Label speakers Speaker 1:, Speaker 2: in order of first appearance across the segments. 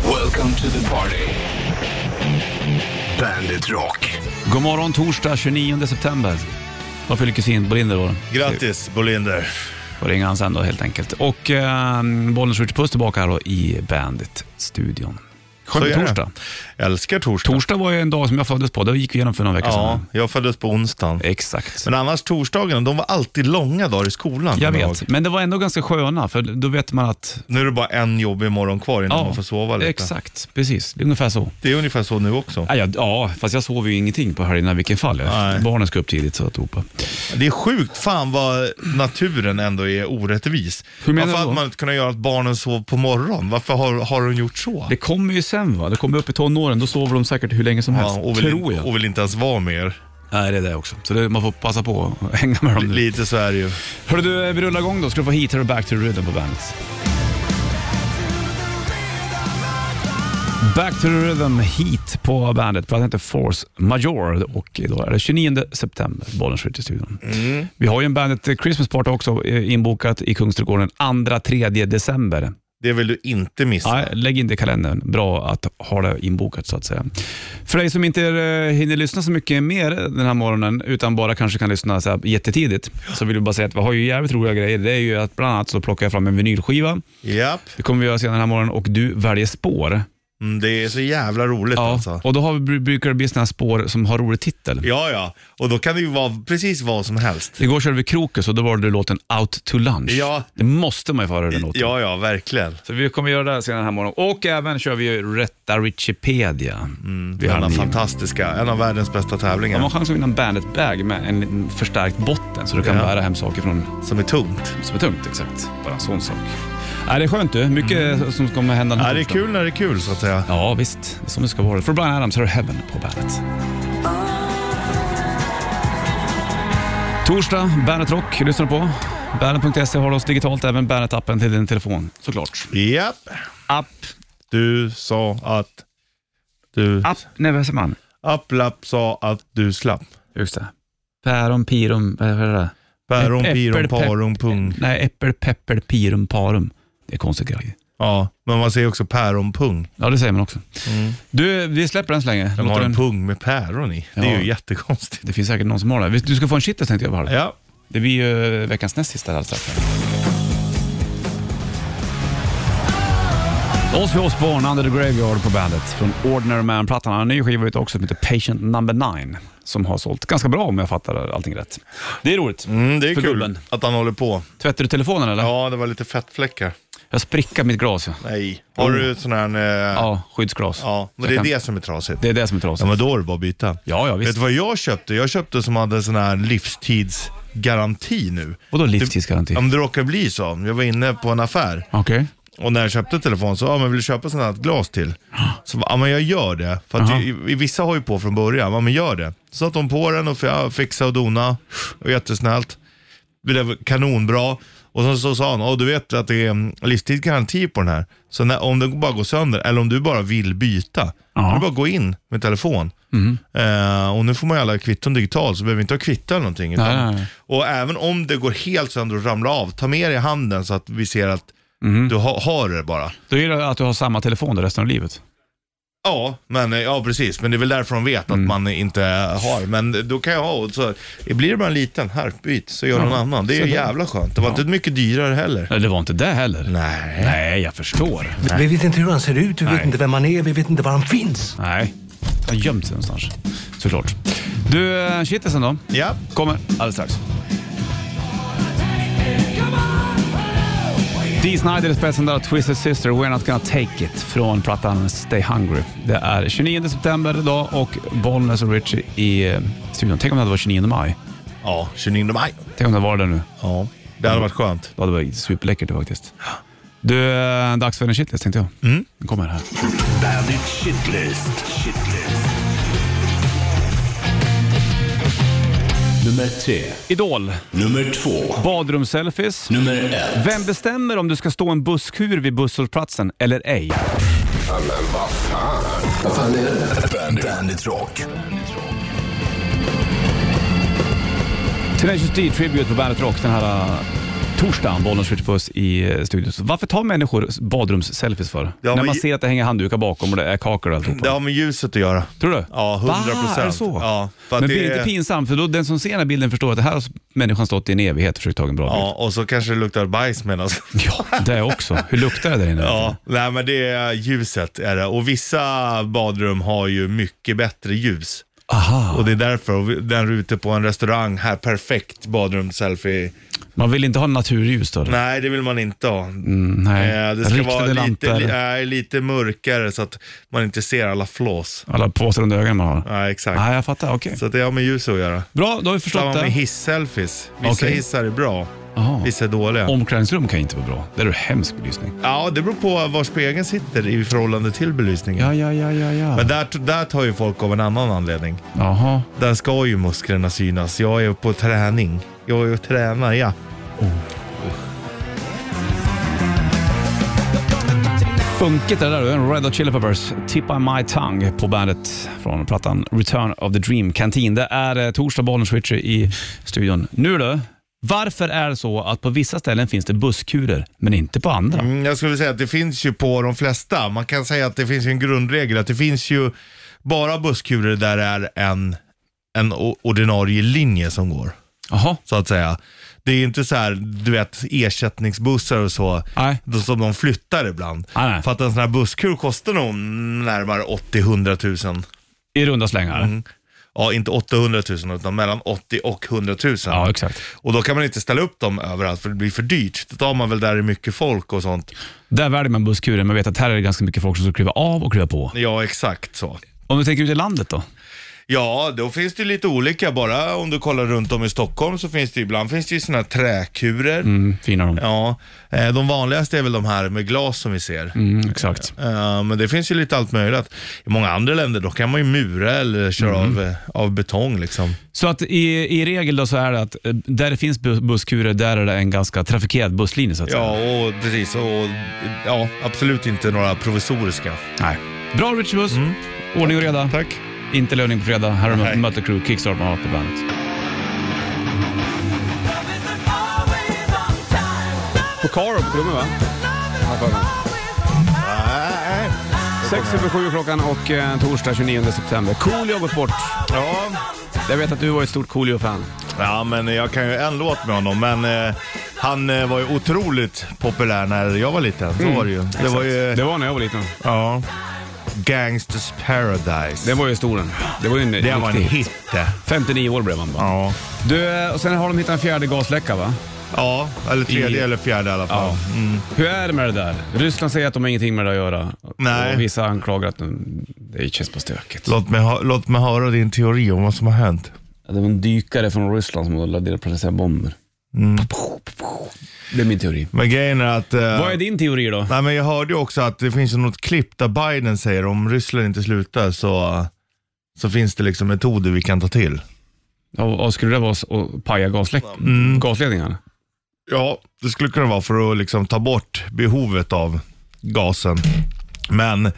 Speaker 1: Welcome to the party. Bandit Rock.
Speaker 2: God morgon torsdag 29 september. Då fyller kusin Bolinder år.
Speaker 3: Grattis Bolinder.
Speaker 2: Får ringa han sen då helt enkelt. Och eh, Bollnäs skjuter puss tillbaka här då i Bandit-studion.
Speaker 3: Så
Speaker 2: Skön
Speaker 3: är det.
Speaker 2: torsdag.
Speaker 3: Älskar torsdag.
Speaker 2: Torsdag Alltså. var ju en dag som jag föddes på. Det gick vi igenom för några veckor
Speaker 3: Ja,
Speaker 2: sedan.
Speaker 3: jag föddes på onsdagen.
Speaker 2: Exakt.
Speaker 3: Men annars torsdagarna, de var alltid långa dagar i skolan.
Speaker 2: Jag
Speaker 3: kommer
Speaker 2: vet,
Speaker 3: ihåg.
Speaker 2: men det var ändå ganska sköna för då vet man att...
Speaker 3: Nu är det bara en jobbig morgon kvar innan man får sova lite.
Speaker 2: Exakt, precis. Det är ungefär så.
Speaker 3: Det är ungefär så nu också.
Speaker 2: Ja, ja, ja, fast jag sov ju ingenting på helgerna i vilken fall.
Speaker 3: Nej.
Speaker 2: Jag. Barnen ska upp tidigt så att ropa.
Speaker 3: Det är sjukt fan vad naturen ändå är orättvis.
Speaker 2: Hur menar du
Speaker 3: Varför
Speaker 2: då?
Speaker 3: hade man inte kunnat göra att barnen sov på morgonen? Varför har, har de gjort så?
Speaker 2: Det kommer ju sen va? Det kommer upp i tonåren, då sover de säkert hur länge som helst.
Speaker 3: Ja, och, vill,
Speaker 2: tror jag.
Speaker 3: och vill inte ens vara med er.
Speaker 2: Nej, det är det också. Så det, man får passa på att hänga med dem nu.
Speaker 3: Lite så är det ju.
Speaker 2: Hörru du, vi rullar igång då. Ska du få hit här och Back to the Rhythm på bandet. Back to the Rhythm, hit på bandet. Pratar inte Force Major och idag är det 29 september. Bollen skjuter i studion. Vi har ju en bandet eh, Christmas Party också eh, inbokat i Kungsträdgården 2-3 december.
Speaker 3: Det vill du inte missa.
Speaker 2: Ja, lägg in det i kalendern. Bra att ha det inbokat så att säga. För dig som inte eh, hinner lyssna så mycket mer den här morgonen, utan bara kanske kan lyssna så här jättetidigt, så vill jag bara säga att vi har ju jävligt roliga grejer. Det är ju att bland annat så plockar jag fram en vinylskiva.
Speaker 3: Japp.
Speaker 2: Det kommer vi göra senare den här morgonen och du väljer spår.
Speaker 3: Mm, det är så jävla roligt alltså.
Speaker 2: Och då har vi, brukar det bli sådana här spår som har rolig titel.
Speaker 3: Ja, ja. Och då kan det ju vara precis vad som helst.
Speaker 2: Igår körde vi Krokus och då var det låten Out to Lunch.
Speaker 3: Ja.
Speaker 2: Det måste man ju få höra den låten.
Speaker 3: Ja, ja, verkligen.
Speaker 2: Så vi kommer göra det här senare den här morgonen. Och även kör vi ju Rätta Richipedia. vi
Speaker 3: En av
Speaker 2: en-
Speaker 3: fantastiska, en av världens bästa
Speaker 2: De har
Speaker 3: tävlingar.
Speaker 2: chans att vinna en Bandit-bag med en liten förstärkt botten så du kan
Speaker 3: Ja.
Speaker 2: bära hem saker från,
Speaker 3: Som är tungt.
Speaker 2: som är tungt. Exakt, bara en sån sak. Äh, det är skönt du. Mycket som kommer hända den här
Speaker 3: Mm. Ja, det är
Speaker 2: torsdagen.
Speaker 3: kul när det är kul så att säga.
Speaker 2: Ja, visst. Det är som det ska vara. För Brian Adams har du Heaven på Bandet. Torsdag, Bandet Rock lyssnar du på. Bandet.se har du oss digitalt, även Bandet-appen till din telefon. Såklart.
Speaker 3: Japp.
Speaker 2: App.
Speaker 3: Du sa att du...
Speaker 2: App. Nej, vad säger man?
Speaker 3: Applap sa att du slapp.
Speaker 2: Just det. Päron, pirum, vad är det där?
Speaker 3: Päron,
Speaker 2: Äppel,
Speaker 3: piron,
Speaker 2: pepp-
Speaker 3: paron, pung.
Speaker 2: Nej, äppel, pepper, pirum, parum. Det är konstigt grej.
Speaker 3: Ja, men man säger också päron, pung.
Speaker 2: Ja, det säger man också. Du, vi släpper den så länge.
Speaker 3: De
Speaker 2: Låter
Speaker 3: Mm. har en
Speaker 2: den-
Speaker 3: pung med päron i. Det är
Speaker 2: Ja.
Speaker 3: ju jättekonstigt.
Speaker 2: Det finns säkert någon som har den. Visst, Du ska få en shitlist tänkte jag bara.
Speaker 3: Ja.
Speaker 2: Det blir ju eh, veckans näst sista alldeles strax. Ozzy Osbourne, Under the Graveyard på bandet. Från Ordinary Man-plattan. Han har en ny skiva ute också som heter Patient Number Nine. Som har sålt ganska bra om jag fattar allting rätt. Det är roligt.
Speaker 3: Mm, det är
Speaker 2: För
Speaker 3: kul
Speaker 2: gubben.
Speaker 3: att han håller på.
Speaker 2: Tvättar du telefonen eller?
Speaker 3: Ja, det var lite fettfläckar.
Speaker 2: Jag sprickar mitt glas. Ja,
Speaker 3: Nej. Har du sån här... eh,
Speaker 2: ja skyddsglas.
Speaker 3: Ja, men
Speaker 2: Så
Speaker 3: det är
Speaker 2: jag kan-
Speaker 3: det som är trasigt.
Speaker 2: det är det som är
Speaker 3: Ja,
Speaker 2: trasigt.
Speaker 3: men då är det bara att byta.
Speaker 2: Ja, ja,
Speaker 3: Vet
Speaker 2: visst.
Speaker 3: du vad jag köpte? Jag köpte som hade sån här livstidsgaranti nu.
Speaker 2: Vadå livstidsgaranti?
Speaker 3: Ja, men det råkar bli så. Jag var inne på en affär
Speaker 2: Okej.
Speaker 3: och när jag köpte telefon så, ja men vill du köpa sånt här glas till? Så, ja men jag gör det. För att
Speaker 2: Aha.
Speaker 3: i, i, vissa har ju på från början, ja men gör det. Så satte de på den och fi- ja, fixade och dona. Och jättesnällt. Det blev kanonbra. Och så, så sa han, ja du vet att det är mm, livstidsgaranti på den här. Så när, om den bara går sönder, eller om du bara vill byta,
Speaker 2: Ja. Mm.
Speaker 3: då är det bara att gå in med telefon. Eh, och nu får man ju alla kvitton digitalt, så behöver vi inte ha kvitto eller någonting. utan-
Speaker 2: Nej, nej, nej.
Speaker 3: och även om det går helt sönder och ramlar av, ta med dig handen så att vi ser att
Speaker 2: Mhm.
Speaker 3: du ha, har det bara.
Speaker 2: Då är det att du har samma telefon då resten av livet.
Speaker 3: Ja, men, eh, ja, precis. Men det är väl därför de vet
Speaker 2: Mm.
Speaker 3: att man inte har. Men då kan jag ha, och så blir det bara en liten, här, byt, så gör någon annan. Det är ju jävla skönt. Det var inte mycket dyrare heller.
Speaker 2: Nej, det var inte det heller.
Speaker 3: Nej.
Speaker 2: Nej, jag förstår.
Speaker 4: Vi vet inte hur han ser ut, vi
Speaker 2: Nej.
Speaker 4: vet inte vem han är, vi vet inte var han finns.
Speaker 2: Nej, han har gömt sig någonstans. Såklart. Du, eh, shitlisten då?
Speaker 3: Ja,
Speaker 2: Kommer alldeles strax. Dee Snider i spetsen där, Twisted Sister, We're Not Gonna Take It från plattan Stay Hungry. Det är 29 september idag och Bollnäs och Richie i eh, studion. Tänk om det hade varit 29 maj.
Speaker 3: ja 29 maj.
Speaker 2: Tänk om det var det nu.
Speaker 3: Ja, det hade varit skönt.
Speaker 2: Ja, det var superläckert det faktiskt. Du, eh, dags för en shitlist tänkte jag. Mm. Den kommer här.
Speaker 1: Bandit Shitlist. Shitlist. Nummer tre.
Speaker 2: Idol,
Speaker 1: Nummer två.
Speaker 2: badrumsselfies.
Speaker 1: Nummer ett.
Speaker 2: Vem bestämmer om du ska stå en busskur vid busshållplatsen eller ej?
Speaker 1: Bandit. Bandit Rock.
Speaker 2: Tenacious D Tribute på Bandet Rock den här uh, torsdagen, Bollnäs Ritch Puss i eh, studion. Så Varför tar människor badrumsselfies för?
Speaker 3: Ja,
Speaker 2: När
Speaker 3: men
Speaker 2: man
Speaker 3: ju-
Speaker 2: ser att det hänger handdukar bakom och det är kakor och alltihopa.
Speaker 3: Det har med ljuset att göra.
Speaker 2: Tror du?
Speaker 3: Ja, 100
Speaker 2: Va?
Speaker 3: procent.
Speaker 2: Är det så?
Speaker 3: Ja, för att
Speaker 2: men
Speaker 3: det
Speaker 2: blir det
Speaker 3: är-
Speaker 2: inte pinsamt? För då den som ser den här bilden förstår att det här har människan stått i en evighet och försökt ta en bra
Speaker 3: Ja, och så kanske det luktar bajs medan...
Speaker 2: bild. Ja, det också. Hur luktar det där inne?
Speaker 3: Ja, nej men det är ljuset är det. Och vissa badrum har ju mycket bättre ljus.
Speaker 2: Aha.
Speaker 3: Och det är därför, och vi- den är ute på en restaurang, här perfekt badrumsselfie.
Speaker 2: Man vill inte ha naturljus då? eller?
Speaker 3: Nej, det vill man inte ha.
Speaker 2: Mm, nej.
Speaker 3: Eh, det ska
Speaker 2: Riktade
Speaker 3: vara lite,
Speaker 2: lampor,
Speaker 3: li, nej, lite mörkare så att man inte ser alla flås.
Speaker 2: alla påsar under ögonen man har.
Speaker 3: Nej, exakt.
Speaker 2: Nej, jag fattar. Okej.
Speaker 3: Så att det har med ljus att göra.
Speaker 2: Bra, då har vi förstått
Speaker 3: Samma med
Speaker 2: det.
Speaker 3: hiss-selfies. Vissa
Speaker 2: Okej.
Speaker 3: hissar är bra,
Speaker 2: Jaha.
Speaker 3: vissa är dåliga.
Speaker 2: Omklädningsrum kan ju inte vara bra. Där är det hemsk belysning.
Speaker 3: Ja, det beror på var spegeln sitter i förhållande till belysningen.
Speaker 2: Ja, ja, ja, ja, ja.
Speaker 3: Men där, där tar ju folk av en annan anledning.
Speaker 2: Jaha.
Speaker 3: Där ska ju musklerna synas. Jag är på träning. Jag är och tränar, ja.
Speaker 2: Funkigt är det där du. En Red Hot Chili Peppers, Tip on My Tongue på bandet från plattan Return of the Dream Canteen. Det är eh, torsdag, bollen switcher i studion. Nu då. Varför är det så att på vissa ställen finns det busskurer, men inte på andra?
Speaker 3: Mm, jag skulle säga att det finns ju på de flesta. Man kan säga att det finns ju en grundregel att det finns ju bara busskurer där det är en, en o- ordinarie linje som går,
Speaker 2: Jaha.
Speaker 3: så att säga. Det är inte så här, du vet, ersättningsbussar och så,
Speaker 2: Nej.
Speaker 3: de- som de flyttar ibland.
Speaker 2: Nej, nej.
Speaker 3: För att en sån här busskur kostar nog närmare 80-100 000.
Speaker 2: I runda slängar?
Speaker 3: Mm. Ja, inte 800 000 utan mellan 80 och 100 000.
Speaker 2: Ja, exakt.
Speaker 3: Och då kan man inte ställa upp dem överallt för det blir för dyrt. Då tar man väl där det är mycket folk och sånt.
Speaker 2: Där väljer man busskuren, men vet att här är det ganska mycket folk som ska kliva av och kliva på.
Speaker 3: Ja, exakt så.
Speaker 2: Om du tänker ut i landet då?
Speaker 3: Ja, då finns det ju lite olika. Bara om du kollar runt om i Stockholm så finns det ju- ibland finns det ju såna här träkurer.
Speaker 2: Mm, fina de.
Speaker 3: Ja, eh, de vanligaste är väl de här med glas som vi ser.
Speaker 2: Mm, exakt.
Speaker 3: Eh, Men det finns ju lite allt möjligt. I många andra länder då kan man ju mura eller köra
Speaker 2: Mm.
Speaker 3: av, eh, av betong liksom.
Speaker 2: Så att i, i regel då så är det att eh, där det finns bu- busskurer, där är det en ganska trafikerad busslinje så att säga.
Speaker 3: Ja, och precis. Och, ja, absolut inte några provisoriska.
Speaker 2: Nej. Bra Richard Buss. Ordning och reda.
Speaker 3: Mm. Tack.
Speaker 2: Inte löning på fredag. Här har
Speaker 3: Nej.
Speaker 2: du Mötley Crüe, Kickstart med på bandet.
Speaker 5: På
Speaker 6: Karup på trummor va? Har jag för mig. Sex över sju klockan och eh, torsdag 29 september. Coolio har gått bort.
Speaker 3: Ja.
Speaker 6: Jag vet att du var ett stort Coolio-fan.
Speaker 3: ja, men jag kan ju en låt med honom, men eh, han eh, var ju otroligt populär när jag var liten.
Speaker 6: Mm.
Speaker 3: Så var det ju. Det var ju,
Speaker 6: Det var när jag var liten.
Speaker 3: ja, Gangsters Paradise.
Speaker 6: Det var ju stor den. Det var ju en
Speaker 3: det var en
Speaker 6: riktig
Speaker 3: hit det.
Speaker 6: 59 år blev man bara.
Speaker 3: Ja.
Speaker 6: Du, eh, och sen har de hittat en fjärde gasläcka va?
Speaker 3: ja, eller tredje
Speaker 6: I-
Speaker 3: eller fjärde i alla fall.
Speaker 6: Hur är det med det där? Ryssland säger att de har ingenting med det att göra.
Speaker 3: Nej.
Speaker 6: Och vissa anklagar att de, det känns bara stökigt.
Speaker 3: Låt, mig hö- låt mig höra din teori om vad som har hänt.
Speaker 6: Det var en dykare från Ryssland som ladderade placerade bomber. Det är min teori.
Speaker 3: Men grejen är att... eh,
Speaker 6: Vad är din teori då?
Speaker 3: Nej, men jag hörde ju också att det finns ju något klipp där Biden säger om Ryssland inte slutar så, så finns det liksom metoder vi kan ta till.
Speaker 6: Och, och skulle det vara s- att paja gaslä- gasledningarna?
Speaker 3: Ja, det skulle kunna vara för att liksom ta bort behovet av gasen. Men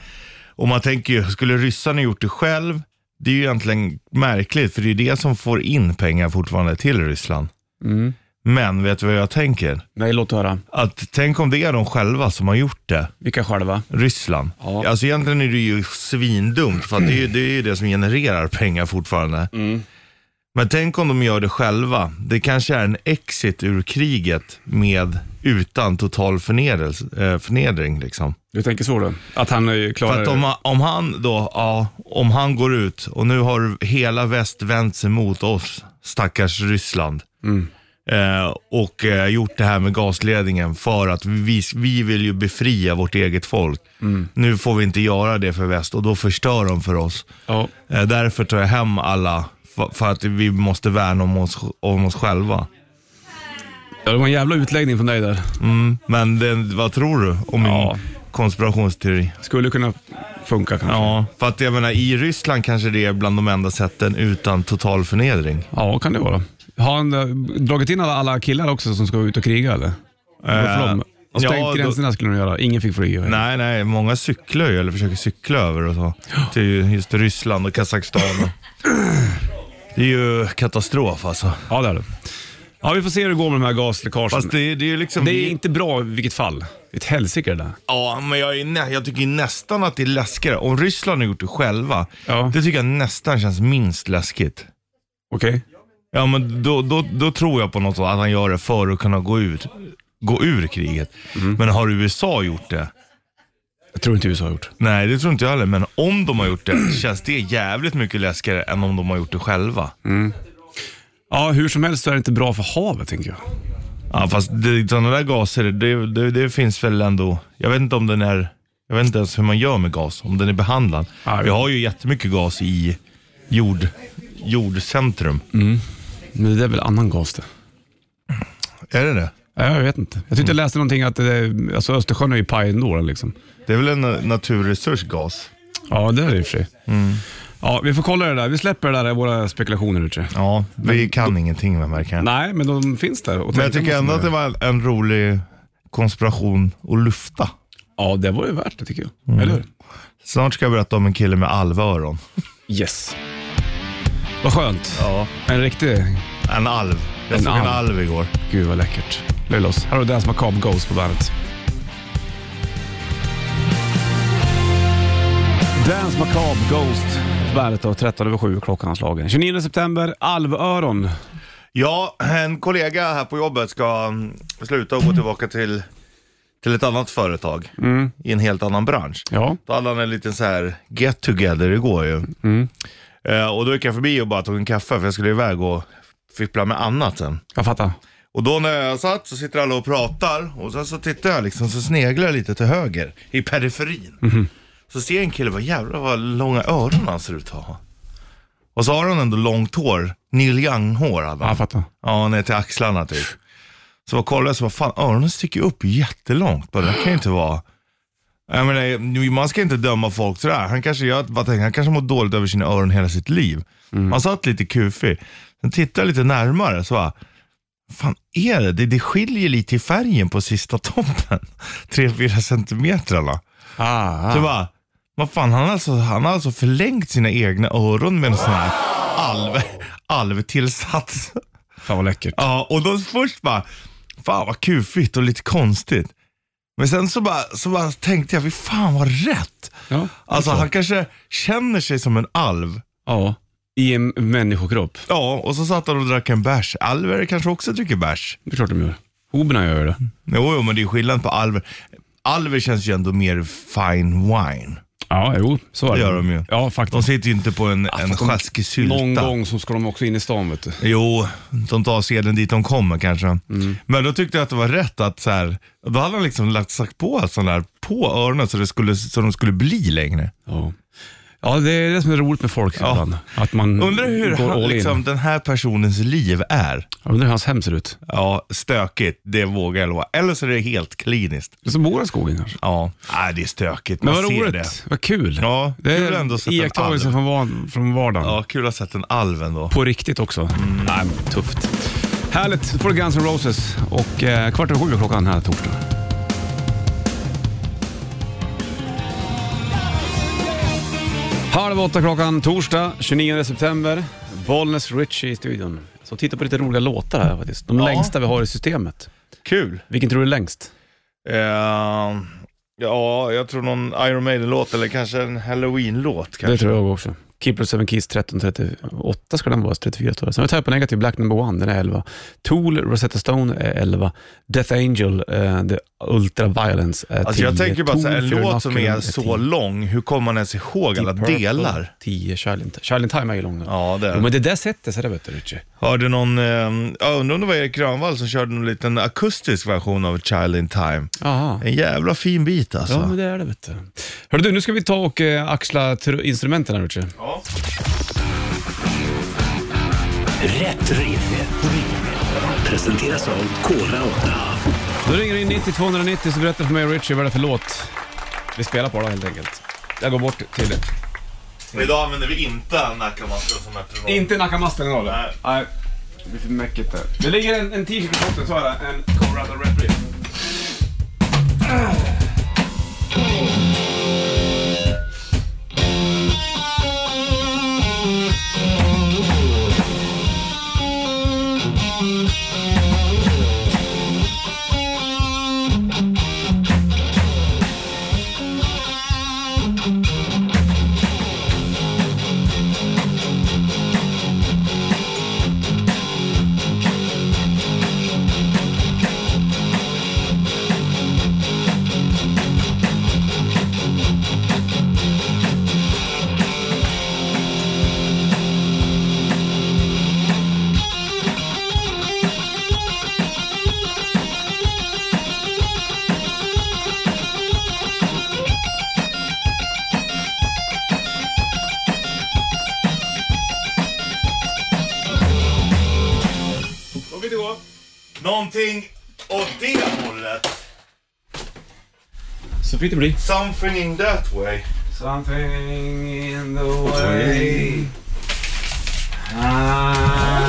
Speaker 3: om man tänker, ju, skulle ryssarna gjort det själv? Det är ju egentligen märkligt, för det är ju det som får in pengar fortfarande till Ryssland. Men vet du vad jag tänker?
Speaker 6: Nej, låt höra.
Speaker 3: Att tänk om det är de själva som har gjort det.
Speaker 6: Vilka själva?
Speaker 3: Ryssland.
Speaker 6: Ja.
Speaker 3: Alltså egentligen är det ju svindumt för att det är ju det, är ju det som genererar pengar fortfarande. Men tänk om de gör det själva. Det kanske är en exit ur kriget med utan total förnedrelse, eh, förnedring. Liksom.
Speaker 6: Du tänker så då? Att han eh,
Speaker 3: För
Speaker 6: klarar
Speaker 3: att om, han- om han då, ja, om han går ut och nu har hela väst vänt sig mot oss, stackars Ryssland. Eh, och eh, gjort det här med gasledningen för att vi, vi vill ju befria vårt eget folk. Nu får vi inte göra det för väst och då förstör de för oss.
Speaker 6: Ja.
Speaker 3: Eh, därför tar jag hem alla, för, för att vi måste värna om oss, om oss själva.
Speaker 6: ja, det var en jävla utläggning från dig där.
Speaker 3: Men det, vad tror du om min
Speaker 6: Ja.
Speaker 3: konspirationsteori?
Speaker 6: Skulle kunna funka kanske.
Speaker 3: Ja, för att jag menar i Ryssland kanske det är bland de enda sätten utan total förnedring.
Speaker 6: Ja, kan det vara. Har han eh, dragit in alla, alla killar också som ska ut och kriga eller? Varför
Speaker 3: Eh,
Speaker 6: de? Och stängt
Speaker 3: ja, då-
Speaker 6: gränserna skulle de göra. Ingen fick flyga.
Speaker 3: Nej, nej, många cyklar ju eller försöker cykla över och så. Till just Ryssland och Kazakstan. och- Det är ju katastrof alltså.
Speaker 6: Ja, det är det.
Speaker 2: Ja, vi får se hur det går med de här gasläckagen.
Speaker 3: Fast det, det är ju liksom...
Speaker 2: det är inte bra i vilket fall. Det är ett helsike det där.
Speaker 3: Ja, men jag, är nä, jag tycker nästan att det är läskigare. Om Ryssland har gjort det själva,
Speaker 2: Ja.
Speaker 3: det tycker jag nästan känns minst läskigt.
Speaker 2: Okej?
Speaker 3: Ja, men då, då, då tror jag på något sätt att han gör det för att kunna gå ut gå ur kriget.
Speaker 2: Mm.
Speaker 3: Men har USA gjort det?
Speaker 2: Jag tror inte USA har gjort.
Speaker 3: Nej, det tror inte jag heller. Men om de har gjort det, känns det jävligt mycket läskigare än om de har gjort det själva.
Speaker 2: Ja, hur som helst så är det inte bra för havet, tänker jag.
Speaker 3: Ja, fast det, sådana där gaser, det, det, det finns väl ändå. Jag vet inte om den är, jag vet inte ens hur man gör med gas, om den är behandlad.
Speaker 2: Nej.
Speaker 3: Vi har ju jättemycket gas i jord, jordcentrum.
Speaker 2: Men det är väl annan gas det.
Speaker 3: Är det det?
Speaker 2: Ja, jag vet inte. Jag tyckte jag
Speaker 3: Mm.
Speaker 2: läste någonting att eh, alltså Östersjön är ju paj ändå. Liksom.
Speaker 3: Det är väl en na- naturresurs, gas?
Speaker 2: Ja, det är det i och för sig.
Speaker 3: Mm.
Speaker 2: Ja, vi får kolla det där. Vi släpper det där, våra spekulationer nu tror jag.
Speaker 3: Ja, vi kan ingenting med märker jag.
Speaker 2: Nej, men de finns där. och
Speaker 3: Men jag
Speaker 2: tänka
Speaker 3: tycker
Speaker 2: måste
Speaker 3: ändå
Speaker 2: man
Speaker 3: att det
Speaker 2: göra.
Speaker 3: var en rolig konspiration att lufta.
Speaker 2: Ja, det var ju värt det tycker jag. Eller hur?
Speaker 3: Snart ska jag berätta om en kille med alvöron.
Speaker 2: Yes. Vad skönt.
Speaker 3: Ja.
Speaker 2: En riktig...
Speaker 3: En alv. Jag
Speaker 2: En
Speaker 3: såg en
Speaker 2: alv.
Speaker 3: alv igår.
Speaker 2: Gud vad läckert. Löjlos. Här har du Dance Macabre Ghost på bandet. Dance Macabre Ghost på bandet då, 13 över 7 klockan har slagit. 29 september, Alvöron.
Speaker 3: Ja, en kollega här på jobbet ska mm, sluta och gå tillbaka till, till ett annat företag
Speaker 2: Mm.
Speaker 3: i en helt annan bransch.
Speaker 2: Ja.
Speaker 3: Då hade han en liten så här get together igår ju.
Speaker 2: Mm.
Speaker 3: Eh, och då gick jag förbi och bara tog en kaffe för jag skulle iväg och fippla med annat sen.
Speaker 2: Jag fattar.
Speaker 3: Och då när jag satt så sitter alla och pratar och sen så tittar jag liksom så sneglar jag lite till höger i periferin. Så ser jag en kille, vad jävlar vad långa öron han ser ut att ha. Och så har han ändå långt hår, Neil Young-hår hade
Speaker 2: Ja,
Speaker 3: han.
Speaker 2: jag fattar.
Speaker 3: Ja, ner till axlarna typ. Så jag kollade så bara, fan öronen sticker upp jättelångt. Bara, det här kan ju inte vara... Jag menar, man ska inte döma folk sådär. Han kanske, jag bara tänkte, han kanske mår dåligt över sina öron hela sitt liv. Man satt lite kufig. Sen tittade jag lite närmare så bara, fan är det? det? Det skiljer lite i färgen på sista toppen. 3-4 centimeterna.
Speaker 2: Ah,
Speaker 3: Så bara, vad fan, han har alltså, han har alltså förlängt sina egna öron med en sån här alv, alvtillsats.
Speaker 2: Fan vad läckert.
Speaker 3: Ja, och då först bara, fan vad kufigt och lite konstigt. Men sen så bara, så bara tänkte jag, fy fan vad rätt.
Speaker 2: Ja.
Speaker 3: Alltså han kanske känner sig som en alv.
Speaker 2: ja. I en människokropp.
Speaker 3: Ja, och så satt han och drack en bärs. Alver kanske också dricker bärs.
Speaker 2: Det är klart de gör. Hoberna gör det.
Speaker 3: Jo, jo, men det är skillnad på alver. Alver känns ju ändå mer fine wine.
Speaker 2: Ja, jo. Så är
Speaker 3: Det
Speaker 2: det.
Speaker 3: gör de ju.
Speaker 2: Ja,
Speaker 3: De
Speaker 2: faktiskt.
Speaker 3: sitter ju inte på en, en
Speaker 2: Ah, fast de-
Speaker 3: sjaskig sylta.
Speaker 2: Någon gång så ska de också in i stan vet du.
Speaker 3: Jo, de tar seden dit de kommer kanske. Men då tyckte jag att det var rätt att så här, då hade han liksom lagt sagt på sån där på öronen så, det skulle, så de skulle bli längre.
Speaker 2: Ja. Ja, det är det som är roligt med folk
Speaker 3: Ja.
Speaker 2: ibland. Att man
Speaker 3: Undrar
Speaker 2: går
Speaker 3: hur han,
Speaker 2: all
Speaker 3: liksom,
Speaker 2: in.
Speaker 3: den här personens liv är.
Speaker 2: Jag undrar hur hans hem ser ut.
Speaker 3: Ja, stökigt, det vågar jag lova. Eller så är det helt kliniskt.
Speaker 2: Det är som bor i skogen kanske.
Speaker 3: Ja, nej, det är stökigt.
Speaker 2: Men
Speaker 3: Man
Speaker 2: vad
Speaker 3: ser
Speaker 2: roligt.
Speaker 3: det.
Speaker 2: Vad kul.
Speaker 3: Ja,
Speaker 2: det
Speaker 3: kul ändå att
Speaker 2: är
Speaker 3: sätta en
Speaker 2: iakttagelser
Speaker 3: alv.
Speaker 2: från, var- från vardagen.
Speaker 3: Ja, kul att ha sett en alv ändå.
Speaker 2: På riktigt också. Nej, men tufft. Härligt. Då får du Guns N' Roses och eh, kvart över sju är klockan här torsdag. Halv åtta klockan torsdag 29 september. Bollnäs Richie i studion. Så titta på lite roliga låtar här faktiskt. De
Speaker 3: Ja.
Speaker 2: längsta vi har i systemet.
Speaker 3: Kul.
Speaker 2: Vilken tror du är längst?
Speaker 3: Eh, ja, jag tror någon Iron Maiden-låt eller kanske en Halloween-låt.
Speaker 2: Det
Speaker 3: Kanske.
Speaker 2: tror jag också. Keeper Seven Keys 1338 ska den vara, 34 tror jag. Sen har vi tagit på negativ, Black Number One, den är 11. Tool, Rosetta Stone är 11. Death Angel, eh, The Ultra Violence är 10.
Speaker 3: Alltså jag tänker bara
Speaker 2: Tool,
Speaker 3: så här, en
Speaker 2: Fear
Speaker 3: låt som
Speaker 2: Inoculum
Speaker 3: är så
Speaker 2: 10.
Speaker 3: lång, hur kommer man ens ihåg alla
Speaker 2: Deep Purple,
Speaker 3: delar?
Speaker 2: 10, Child in, Child in Time är ju lång. Ja.
Speaker 3: Ja, det är
Speaker 2: Men
Speaker 3: det.
Speaker 2: det där sättet så det vet du Richie.
Speaker 3: Hörde någon, eh, jag undrar om det var Erik Granvall som körde en liten akustisk version av Child in Time.
Speaker 2: Aha.
Speaker 3: En jävla fin bit alltså.
Speaker 2: Ja, men det är det vet du. Hörru du, nu ska vi ta och eh, axla tr- instrumenten här Richie.
Speaker 1: Rätt riff. Presenteras av Kora 8.
Speaker 2: Då ringer du in 90 290 så berättar för mig och Richie vad det är för låt vi spelar på då helt enkelt. Jag går bort till det.
Speaker 3: Och idag använder vi inte Nackamastra som metronom.
Speaker 2: Inte Nackamastan idag
Speaker 3: Nej.
Speaker 2: Nej. Det blir för mäckigt där. Det ligger en, en t-shirt i botten, så är det. En Colorado Rep Rip.
Speaker 3: Någonting åt det hållet.
Speaker 2: Så fick det bli.
Speaker 3: Something in that way.
Speaker 2: Something in the way. Ah.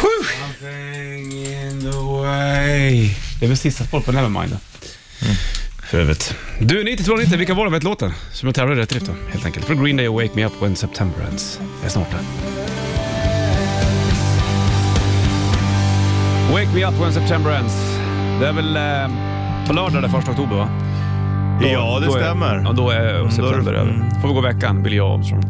Speaker 2: Something in the way. Det är väl sista spåret på Nevermind. Mm. För övrigt. Du, 9290, vilka var de ett låten som jag tävlade i rätt drift då, helt enkelt. För Green Day och Wake Me Up When September Ends. Det är snart det. Wake Me Up When September Ends. Det är väl eh, på lördag den 1 oktober va?
Speaker 3: Ja, det
Speaker 2: då är-
Speaker 3: stämmer.
Speaker 2: Ja, då är september
Speaker 3: Mm.
Speaker 2: över. Får vi gå veckan, Billy Armstrong,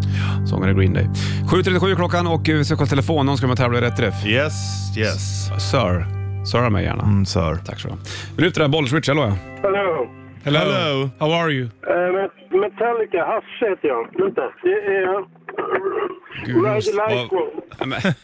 Speaker 2: sångare i Green Day. 7.37 klockan och vi ska kolla telefon. Någon ska med och tävla i rätt träff.
Speaker 3: Yes, yes.
Speaker 2: Sir, sörra mig gärna.
Speaker 3: Mm, sir.
Speaker 2: Tack så du ha. Minuter där, Bollswitch, hallå ja.
Speaker 5: Hello.
Speaker 2: Hello.
Speaker 3: Hello.
Speaker 2: How are you?
Speaker 5: Eh, Met- Metallica, Hasse heter jag. Vänta. Det är...
Speaker 2: Gud,
Speaker 5: Ride the
Speaker 2: just- vad-
Speaker 5: Lightning.
Speaker 2: Nej, men-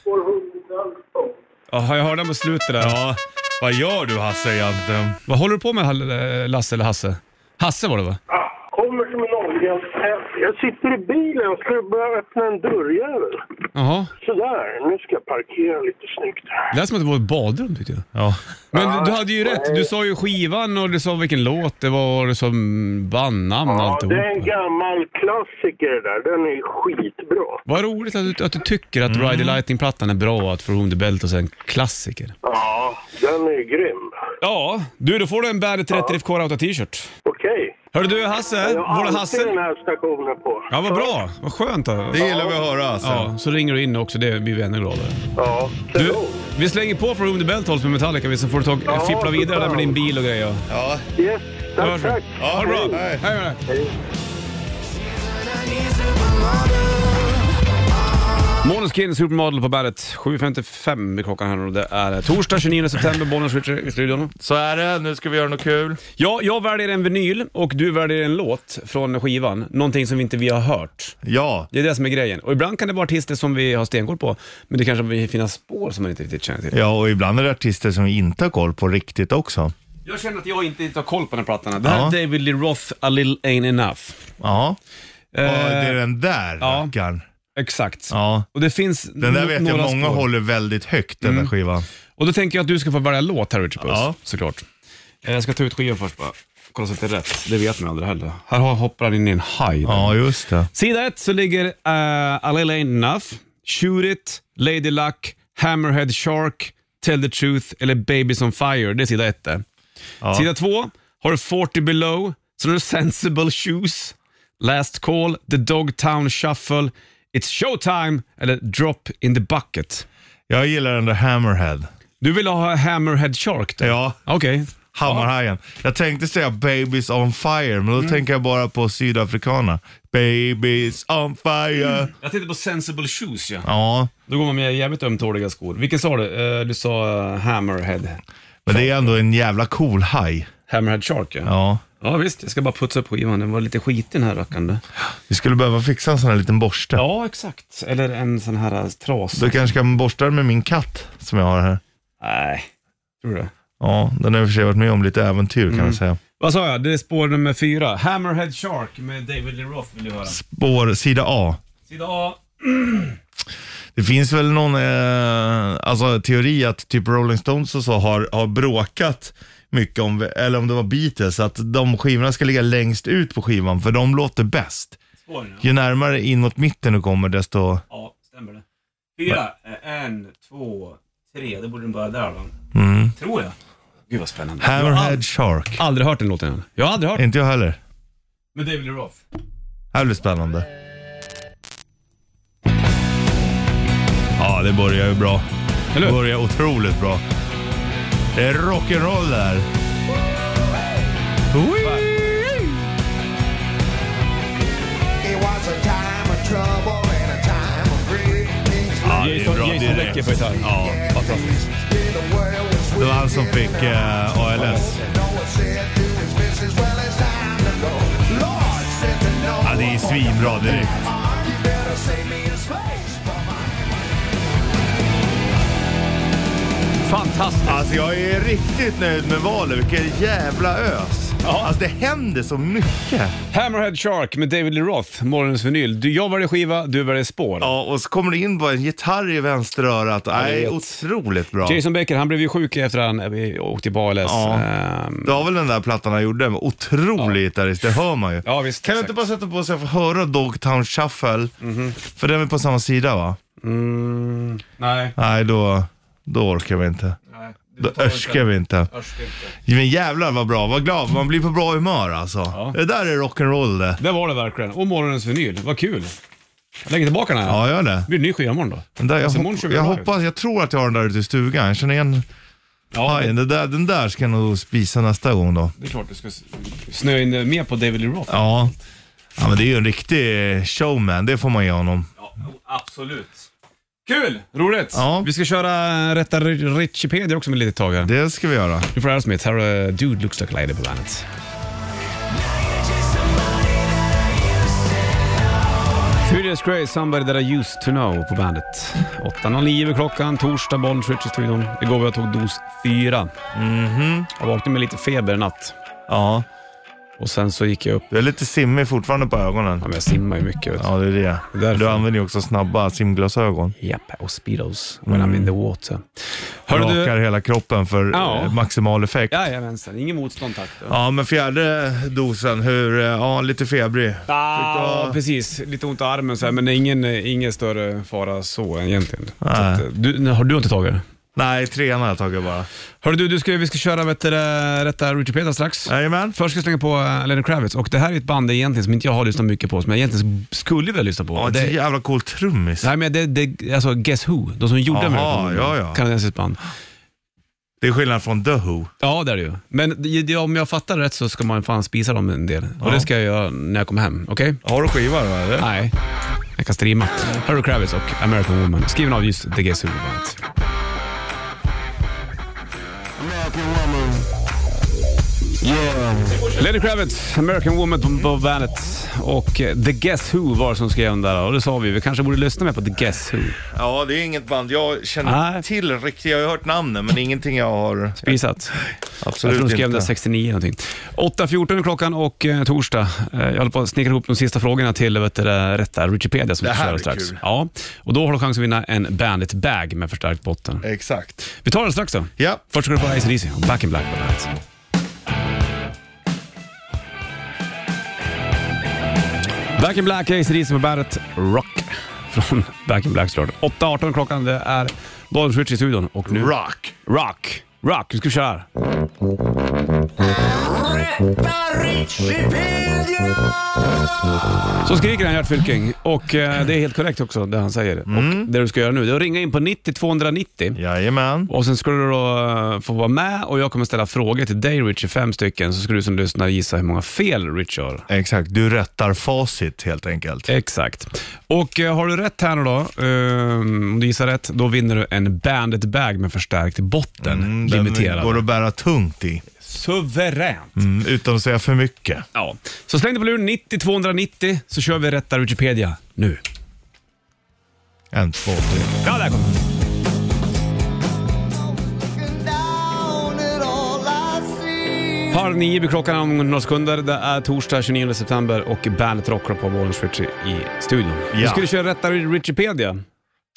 Speaker 2: Jaha, jag hörde mot slutet där.
Speaker 3: Ja, vad gör du Hasse egentligen?
Speaker 2: Vad håller du på med Hall- eh, Lasse eller Hasse? Hasse var det va?
Speaker 5: Ah, Kommer som en olja. Eh, Jag sitter i bilen och ska börja öppna en dörrjävel.
Speaker 2: Jaha.
Speaker 5: Sådär, nu ska jag parkera lite snyggt.
Speaker 2: Det lät som att det var ett badrum tyckte jag.
Speaker 3: Ja.
Speaker 2: Men du hade ju rätt. Du sa ju skivan och du sa vilken låt det var och du sa mm, bandnamn och
Speaker 5: Ja,
Speaker 2: alltihop.
Speaker 5: det är en gammal klassiker det där. Den är skitbra.
Speaker 2: Vad roligt att du, att du tycker att Ride the Lightning-plattan är bra och att For Whom the Bell är en klassiker.
Speaker 5: Ja, den är grym.
Speaker 2: Ja, du då får du en Bandet Rätt Riff Core Auto t-shirt.
Speaker 5: Okej.
Speaker 2: Hörru du Hasse,
Speaker 5: Jag har
Speaker 2: var det
Speaker 5: alltid den
Speaker 2: Hasse?
Speaker 5: här stationen på.
Speaker 2: Ja, vad bra. Vad skönt. Då.
Speaker 3: Det gillar vi att höra alltså. Hasse.
Speaker 2: Ja, så ringer du in också. Det blir vi ännu gladare.
Speaker 5: Ja,
Speaker 2: Du,
Speaker 5: kanon.
Speaker 2: vi slänger på For Whom the Bell Tolls med Metallica vi, så får du ta,
Speaker 5: Ja,
Speaker 2: fippla vidare där med din bil och grejer.
Speaker 3: Ja.
Speaker 5: Yes,
Speaker 2: Hörs
Speaker 5: tack,
Speaker 2: vi.
Speaker 5: tack.
Speaker 3: Ja,
Speaker 2: Ha det bra.
Speaker 3: Hej.
Speaker 2: Hej med dig. Måneskin Supermodel på bandet. 7.55 är klockan här och det är torsdag 29 september. Bollnäs Richard i studion.
Speaker 3: Så är det, nu ska vi göra något kul.
Speaker 2: Ja, jag väljer en vinyl och du väljer en låt från skivan. Någonting som vi inte vi har hört.
Speaker 3: Ja,
Speaker 2: Det är det som är grejen. Och ibland kan det vara artister som vi har stenkoll på, men det kanske finnas spår som man inte riktigt känner till.
Speaker 3: ja och ibland är det artister som vi inte har koll på riktigt också.
Speaker 2: Jag känner att jag inte riktigt har koll på den här plattan. Det här
Speaker 3: Ja.
Speaker 2: är David Lee Roth, A Little Ain't Enough.
Speaker 3: Ja, och det
Speaker 2: Eh,
Speaker 3: är den där
Speaker 2: ja.
Speaker 3: rackaren.
Speaker 2: Exakt.
Speaker 3: Ja.
Speaker 2: Och det finns
Speaker 3: Den där
Speaker 2: no-
Speaker 3: vet jag
Speaker 2: några
Speaker 3: många
Speaker 2: spår. Mm.
Speaker 3: håller väldigt högt, den där skivan.
Speaker 2: Och då tänker jag att du ska få välja låt här Richard Puss,
Speaker 3: Ja.
Speaker 2: såklart. Eh, Jag ska ta ut skivan först bara. Kolla så att det är rätt. Det vet man aldrig heller. Här har- hoppar han in i en haj. där.
Speaker 3: Ja, just det.
Speaker 2: Sida ett så ligger uh, Alila Ain't Enough, Shoot It, Lady Luck, Hammerhead Shark, Tell the Truth eller Babies on Fire. Det är sida ett där. Sida två har du 40 Below, sen har du Sensible Shoes, Last Call, The Dogtown Shuffle, It's Showtime eller Drop in the Bucket.
Speaker 3: Jag gillar den där Hammerhead.
Speaker 2: Du vill ha Hammerhead Shark då?
Speaker 3: Ja,
Speaker 2: Okej.
Speaker 3: Hammarhajen. Jag tänkte säga Babies on fire, men då
Speaker 2: Mm.
Speaker 3: tänker jag bara på Sydafrikana. Babies on fire.
Speaker 2: Jag tittar på Sensible Shoes ja.
Speaker 3: Ja,
Speaker 2: Då går man med jävligt ömtåliga skor. Vilken sa du? Eh, du sa eh, Hammerhead.
Speaker 3: men det är ändå en jävla cool haj.
Speaker 2: Hammerhead Shark ja.
Speaker 3: Ja.
Speaker 2: Ja visst, jag ska bara putsa upp skivan. Den var lite skiten den här rackaren. du.
Speaker 3: Vi skulle behöva fixa en sån här liten borste.
Speaker 2: Ja, exakt. Eller en sån här eh, tras.
Speaker 3: Du kanske kan borsta den med min katt som jag har här.
Speaker 2: Nej, tror du det?
Speaker 3: Ja, den har i och för sig varit med om lite äventyr kan man säga.
Speaker 2: Vad sa jag? Det är spår nummer fyra. Hammerhead Shark med David Lee Roth vill du höra.
Speaker 3: Spår, sida A.
Speaker 2: Sida A.
Speaker 3: Det finns väl någon eh, alltså, teori att typ Rolling Stones och så har, har bråkat mycket om, eller om det var Beatles, att de skivorna ska ligga längst ut på skivan för de låter bäst.
Speaker 2: Spår ja.
Speaker 3: Ju närmare inåt mitten du kommer desto...
Speaker 2: ja, stämmer det. Fyra, eh, en, två, tre. Det borde den börja där va?
Speaker 3: Mm.
Speaker 2: Tror jag. Gud vad spännande. Jag har
Speaker 3: Hammerhead
Speaker 2: ald-
Speaker 3: Shark.
Speaker 2: aldrig hört den låten än. Jag har aldrig hört den.
Speaker 3: Inte jag heller.
Speaker 2: Med David Lee Roth.
Speaker 3: Det här blir spännande. Ja, det börjar ju bra.
Speaker 2: Eller
Speaker 3: Det
Speaker 2: hur?
Speaker 3: börjar otroligt bra. Det är rock'n'roll där. Wee!
Speaker 2: Micke på gitarr. Ja, fantastiskt.
Speaker 3: Det var han som fick eh, ALS. Ja, det är svinbra direkt.
Speaker 2: Fantastiskt.
Speaker 3: Alltså jag är riktigt nöjd med valet. Vilken jävla ös. Alltså det händer så mycket.
Speaker 2: Hammerhead Shark med David Lee Roth, morgonens vinyl. Du, jag väljer skiva, du väljer spår.
Speaker 3: Ja, och så kommer det in bara en gitarr i vänsterörat. Nej,
Speaker 2: vet.
Speaker 3: otroligt bra.
Speaker 2: Jason Baker, han blev ju sjuk efter han eh, vi åkte till ALS.
Speaker 3: Ja.
Speaker 2: Ehm,
Speaker 3: Det var väl den där plattan han gjorde, men otrolig gitarrist, det hör man ju.
Speaker 2: Ja, visst,
Speaker 3: kan du
Speaker 2: exakt.
Speaker 3: inte bara sätta på så jag får höra Dogtown Shuffle? För den är på samma sida va?
Speaker 2: nej.
Speaker 3: Nej, då, då orkar vi inte. Då örskar vi inte. Men jävlar vad bra, vad glad, man blir på bra humör alltså. Det där är rock'n'roll det.
Speaker 2: Det var det verkligen. Och morgonens vinyl, vad kul. Jag lägger tillbaka den här.
Speaker 3: Ja, gör det.
Speaker 2: Det blir en ny skiva imorgon då.
Speaker 3: Den där, jag,
Speaker 2: Alltså, imorgon
Speaker 3: hopp,
Speaker 2: kör vi
Speaker 3: jag
Speaker 2: live.
Speaker 3: hoppas, jag tror att jag har den där ute i stugan. Jag känner igen
Speaker 2: Ja,
Speaker 3: hajen. Den där, den där ska jag nog spisa nästa gång då.
Speaker 2: det är klart du ska s- snöa in eh, mer på David Lee Roth.
Speaker 3: Ja. ja, men det är ju en riktig showman, det får man ge honom.
Speaker 2: absolut. Kul! Roligt!
Speaker 3: Ja.
Speaker 2: Vi ska köra eh, Rätta Richipedia också med lite tag här.
Speaker 3: Det ska vi göra.
Speaker 2: Nu får Aerosmith, här har eh, Dude Looks Like a Lady på bandet. Judas Grace, Somebody That I Used To Know på bandet. 8.09 är klockan, torsdag, Bollnäs i studion. Igår var jag och tog dos 4.
Speaker 3: Mhm.
Speaker 2: Jag vaknade med lite feber i natt
Speaker 3: Ja,
Speaker 2: och sen så gick jag upp.
Speaker 3: du är lite simmig fortfarande på ögonen.
Speaker 2: Ja, men jag simmar ju mycket vet du.
Speaker 3: Ja, det är det.
Speaker 2: Därför.
Speaker 3: Du använder ju också snabba simglasögon.
Speaker 2: Japp, och speedos when I'm in the water. Hörru du...
Speaker 3: Mm. Rakar hela kroppen för
Speaker 2: Ja.
Speaker 3: eh, maximal effekt. Ja.
Speaker 2: Jajamensan, ingen motstånd tack. då.
Speaker 3: men fjärde dosen, hur, eh, ja lite febrig. Ah.
Speaker 2: Ja, precis. Lite ont i armen så här, men det är ingen, ingen större fara så egentligen. Så
Speaker 3: Nej.
Speaker 2: att, eh, du, nej, har du inte tagit det?
Speaker 3: Nej, trean har jag tagit bara.
Speaker 2: Hörru du, du ska, vi ska köra vet du, det, Rätta Richard Peter strax.
Speaker 3: Jajamän.
Speaker 2: Först ska jag slänga på eh, Lenny Kravitz och det här är ett band egentligen som inte jag har lyssnat mycket på, som jag egentligen skulle vilja lyssna på.
Speaker 3: Ja, det är
Speaker 2: det,
Speaker 3: så jävla cool trummis.
Speaker 2: nej, men det, det, alltså Guess Who, de som gjorde
Speaker 3: Jaha,
Speaker 2: American Idol,
Speaker 3: ja, ja.
Speaker 2: kanadensiskt band.
Speaker 3: Det är skillnad från The Who.
Speaker 2: Ja, det är det ju. Men det- det- om jag fattar rätt så ska man fan spisa dem en del. Och det ska jag göra när jag kommer hem, okej?
Speaker 3: Har du skivan eller?
Speaker 2: Nej, jag kan streama. Harry Kravitz och American Woman, skriven av just The Guess Who bandet. Lenny Kravitz, American Woman på- på bandet och eh, The Guess Who var det som skrev den där och det sa vi, vi kanske borde lyssna mer på The Guess Who.
Speaker 3: Ja, det är inget band jag känner
Speaker 2: Nej.
Speaker 3: till riktigt. Jag har ju hört namnen, men ingenting jag har...
Speaker 2: Spisat. Jag
Speaker 3: Absolut
Speaker 2: tror de skrev
Speaker 3: inte.
Speaker 2: den 69 någonting. 8.14 är klockan och eh, torsdag. Eh, jag håller på att snickra ihop de sista frågorna till vet du, det rätta Wikipedia som
Speaker 3: Det
Speaker 2: vi
Speaker 3: här
Speaker 2: kör
Speaker 3: blir
Speaker 2: strax.
Speaker 3: kul.
Speaker 2: Ja, och då har du chans att vinna en Bandit-bag med förstärkt botten.
Speaker 3: Exakt.
Speaker 2: Vi tar den strax då.
Speaker 3: Ja.
Speaker 2: Först ska du få Ice Dizzy och Back in Black på bandet. Back in Black, Ice Dizzy på bandet Rock från Back in Black såklart. 8.18 klockan, det är Bollens Rich i studion och nu...
Speaker 3: Rock.
Speaker 2: Rock! Rock, nu ska vi köra här. Så skriker han Gert Fylking och eh, det är helt korrekt också det han säger. Och det du ska göra nu det är att ringa in på 90 290
Speaker 3: Jajamän.
Speaker 2: och sen ska du då eh, få vara med och jag kommer ställa frågor till dig Richie, fem stycken, så ska du som lyssnar gissa hur många fel Richie har.
Speaker 3: Exakt, du rättar facit helt
Speaker 2: Ehm,
Speaker 3: enkelt.
Speaker 2: Exakt. Och eh, har du rätt här nu då, eh, om du gissar rätt, då vinner du en Bandit-bag med förstärkt botten.
Speaker 3: Mm,
Speaker 2: limiterad.
Speaker 3: Den går att bära tungt i,
Speaker 2: Suveränt.
Speaker 3: mm, utan att säga för mycket.
Speaker 2: Ja. Så släng dig på luren 90 290 så kör vi rätta Wikipedia nu.
Speaker 3: En, två, tre.
Speaker 2: Ja, där kom den. Halv nio blir klockan om några sekunder. Det är torsdag 29 september och bandet rockar på Bollnäs Ritchie i studion. Vi
Speaker 3: Ja.
Speaker 2: skulle köra rätta Wikipedia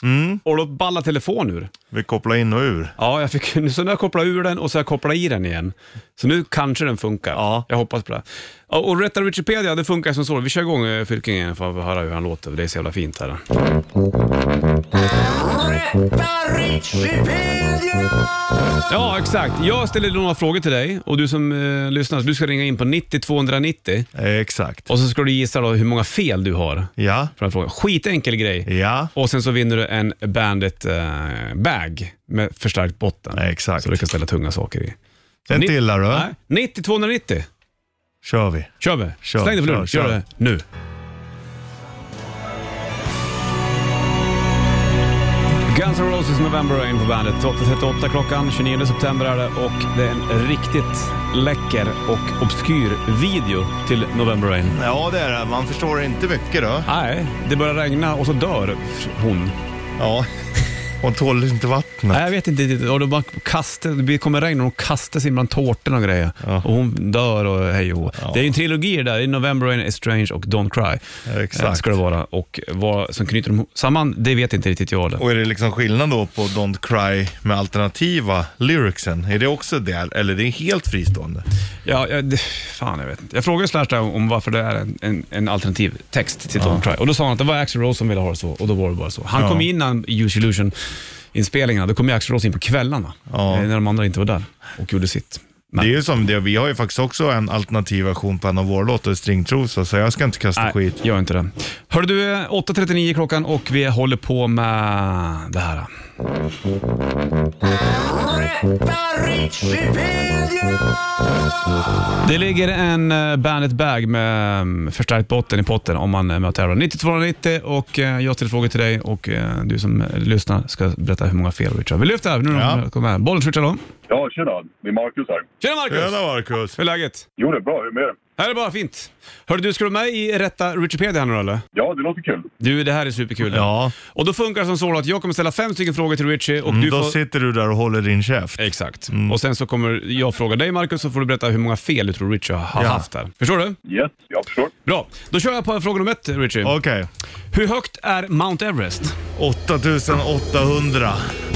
Speaker 3: Mm,
Speaker 2: och då ballade telefonen ur.
Speaker 3: vi kopplar in och ur.
Speaker 2: Ja, jag fick, så nu har jag kopplat ur den och så har jag kopplat i den igen. Så nu kanske den funkar.
Speaker 3: Ja.
Speaker 2: Jag hoppas på det. Ja, Och rätta Wikipedia, det funkar som så. Vi kör igång eh, Fylking igen för att höra hur han låter. Det är så jävla fint här. Ja, exakt. Jag ställer några frågor till dig och du som eh, lyssnar, du ska ringa in på 90 290
Speaker 3: Eh, Exakt.
Speaker 2: och så ska du gissa då hur många fel du har.
Speaker 3: Ja,
Speaker 2: På den frågan. Skitenkel grej.
Speaker 3: ja,
Speaker 2: Och sen så vinner du en Bandit eh, bag med förstärkt botten.
Speaker 3: exakt.
Speaker 2: Så du kan ställa tunga saker i.
Speaker 3: En
Speaker 2: Ni-
Speaker 3: till där då.
Speaker 2: Nej, 90 290.
Speaker 3: Kör vi.
Speaker 2: Kör vi.
Speaker 3: Kör,
Speaker 2: Släng dig på luren.
Speaker 3: kör,
Speaker 2: Gör
Speaker 3: kör.
Speaker 2: det nu. Guns N' Roses Oasis November Rain på bandet. 8.38 klockan, 29 september är det och det är en riktigt läcker och obskyr video till November Rain.
Speaker 3: Ja, det är det. Man förstår inte mycket då.
Speaker 2: Nej, det börjar regna och så dör hon.
Speaker 3: Ja. Hon tål inte vattnet.
Speaker 2: Nej, jag vet inte riktigt. Och då bara kastar, det kommer regn och hon kastas in bland tårtorna och grejer. Och hon dör och hej och hå. Det är ju en trilogi där. Det är November Rain, Estrange och Don't Cry.
Speaker 3: Ja, exakt.
Speaker 2: Eh, Ska det vara. Och vad som knyter dem samman, det vet inte riktigt jag. heller.
Speaker 3: Och är det liksom skillnad då på Don't Cry med alternativa lyricsen? Är det också det, eller är det helt fristående?
Speaker 2: Ja, jag, det, fan jag vet inte. Jag frågade Slash där om varför det är en, en, en alternativ text till Don't Cry. Och då sa han att det var Axl Rose som ville ha det så och då var det bara så. Han
Speaker 3: Ja.
Speaker 2: kom innan Use Illusion inspelningarna, då kom ju Axl Rose in på kvällarna.
Speaker 3: Ja.
Speaker 2: eh, När de andra inte var där och gjorde sitt. Men,
Speaker 3: Det är ju som det, vi har ju faktiskt också en alternativ version på en av våra låtar, Stringtrosa, så jag ska inte kasta
Speaker 2: nej,
Speaker 3: skit.
Speaker 2: gör inte det. Hörru du, eh, 8.39 klockan och vi håller på med det här. Det ligger en eh, Bandit Bag med mm, förstärkt botten i potten om man eh, är med och tävlar. 9290 och eh, jag ställer frågor till dig och eh, du som eh, lyssnar ska berätta hur många fel vi tror. Vi lyfter här nu när
Speaker 3: Ja.
Speaker 2: de kommer här. Bollen switchar om.
Speaker 7: Ja, tjena. Det är Marcus här.
Speaker 2: Tjena Marcus!
Speaker 3: Tjena Marcus!
Speaker 2: Hur är läget?
Speaker 7: Jo, det är bra. Hur är det med er?
Speaker 2: Här är det bara fint. Hörru du, ska du med i rätta Wikipedia här nu eller?
Speaker 7: Ja, det låter kul.
Speaker 2: Du, det här är superkul.
Speaker 3: Ja, Mm,
Speaker 2: Och då funkar det som så att jag kommer ställa fem stycken frågor till Richie och du
Speaker 3: då
Speaker 2: får...
Speaker 3: sitter du där och håller din käft.
Speaker 2: Exakt.
Speaker 3: Mm.
Speaker 2: Och sen så kommer jag fråga dig Marcus så får du berätta hur många fel du tror Richie har
Speaker 3: Ja.
Speaker 2: haft här. Förstår du?
Speaker 7: Yes, jag förstår.
Speaker 2: Bra. Då kör jag på fråga nummer ett Richie.
Speaker 3: Eh. Okej,
Speaker 2: Hur högt är Mount Everest?
Speaker 3: 8800.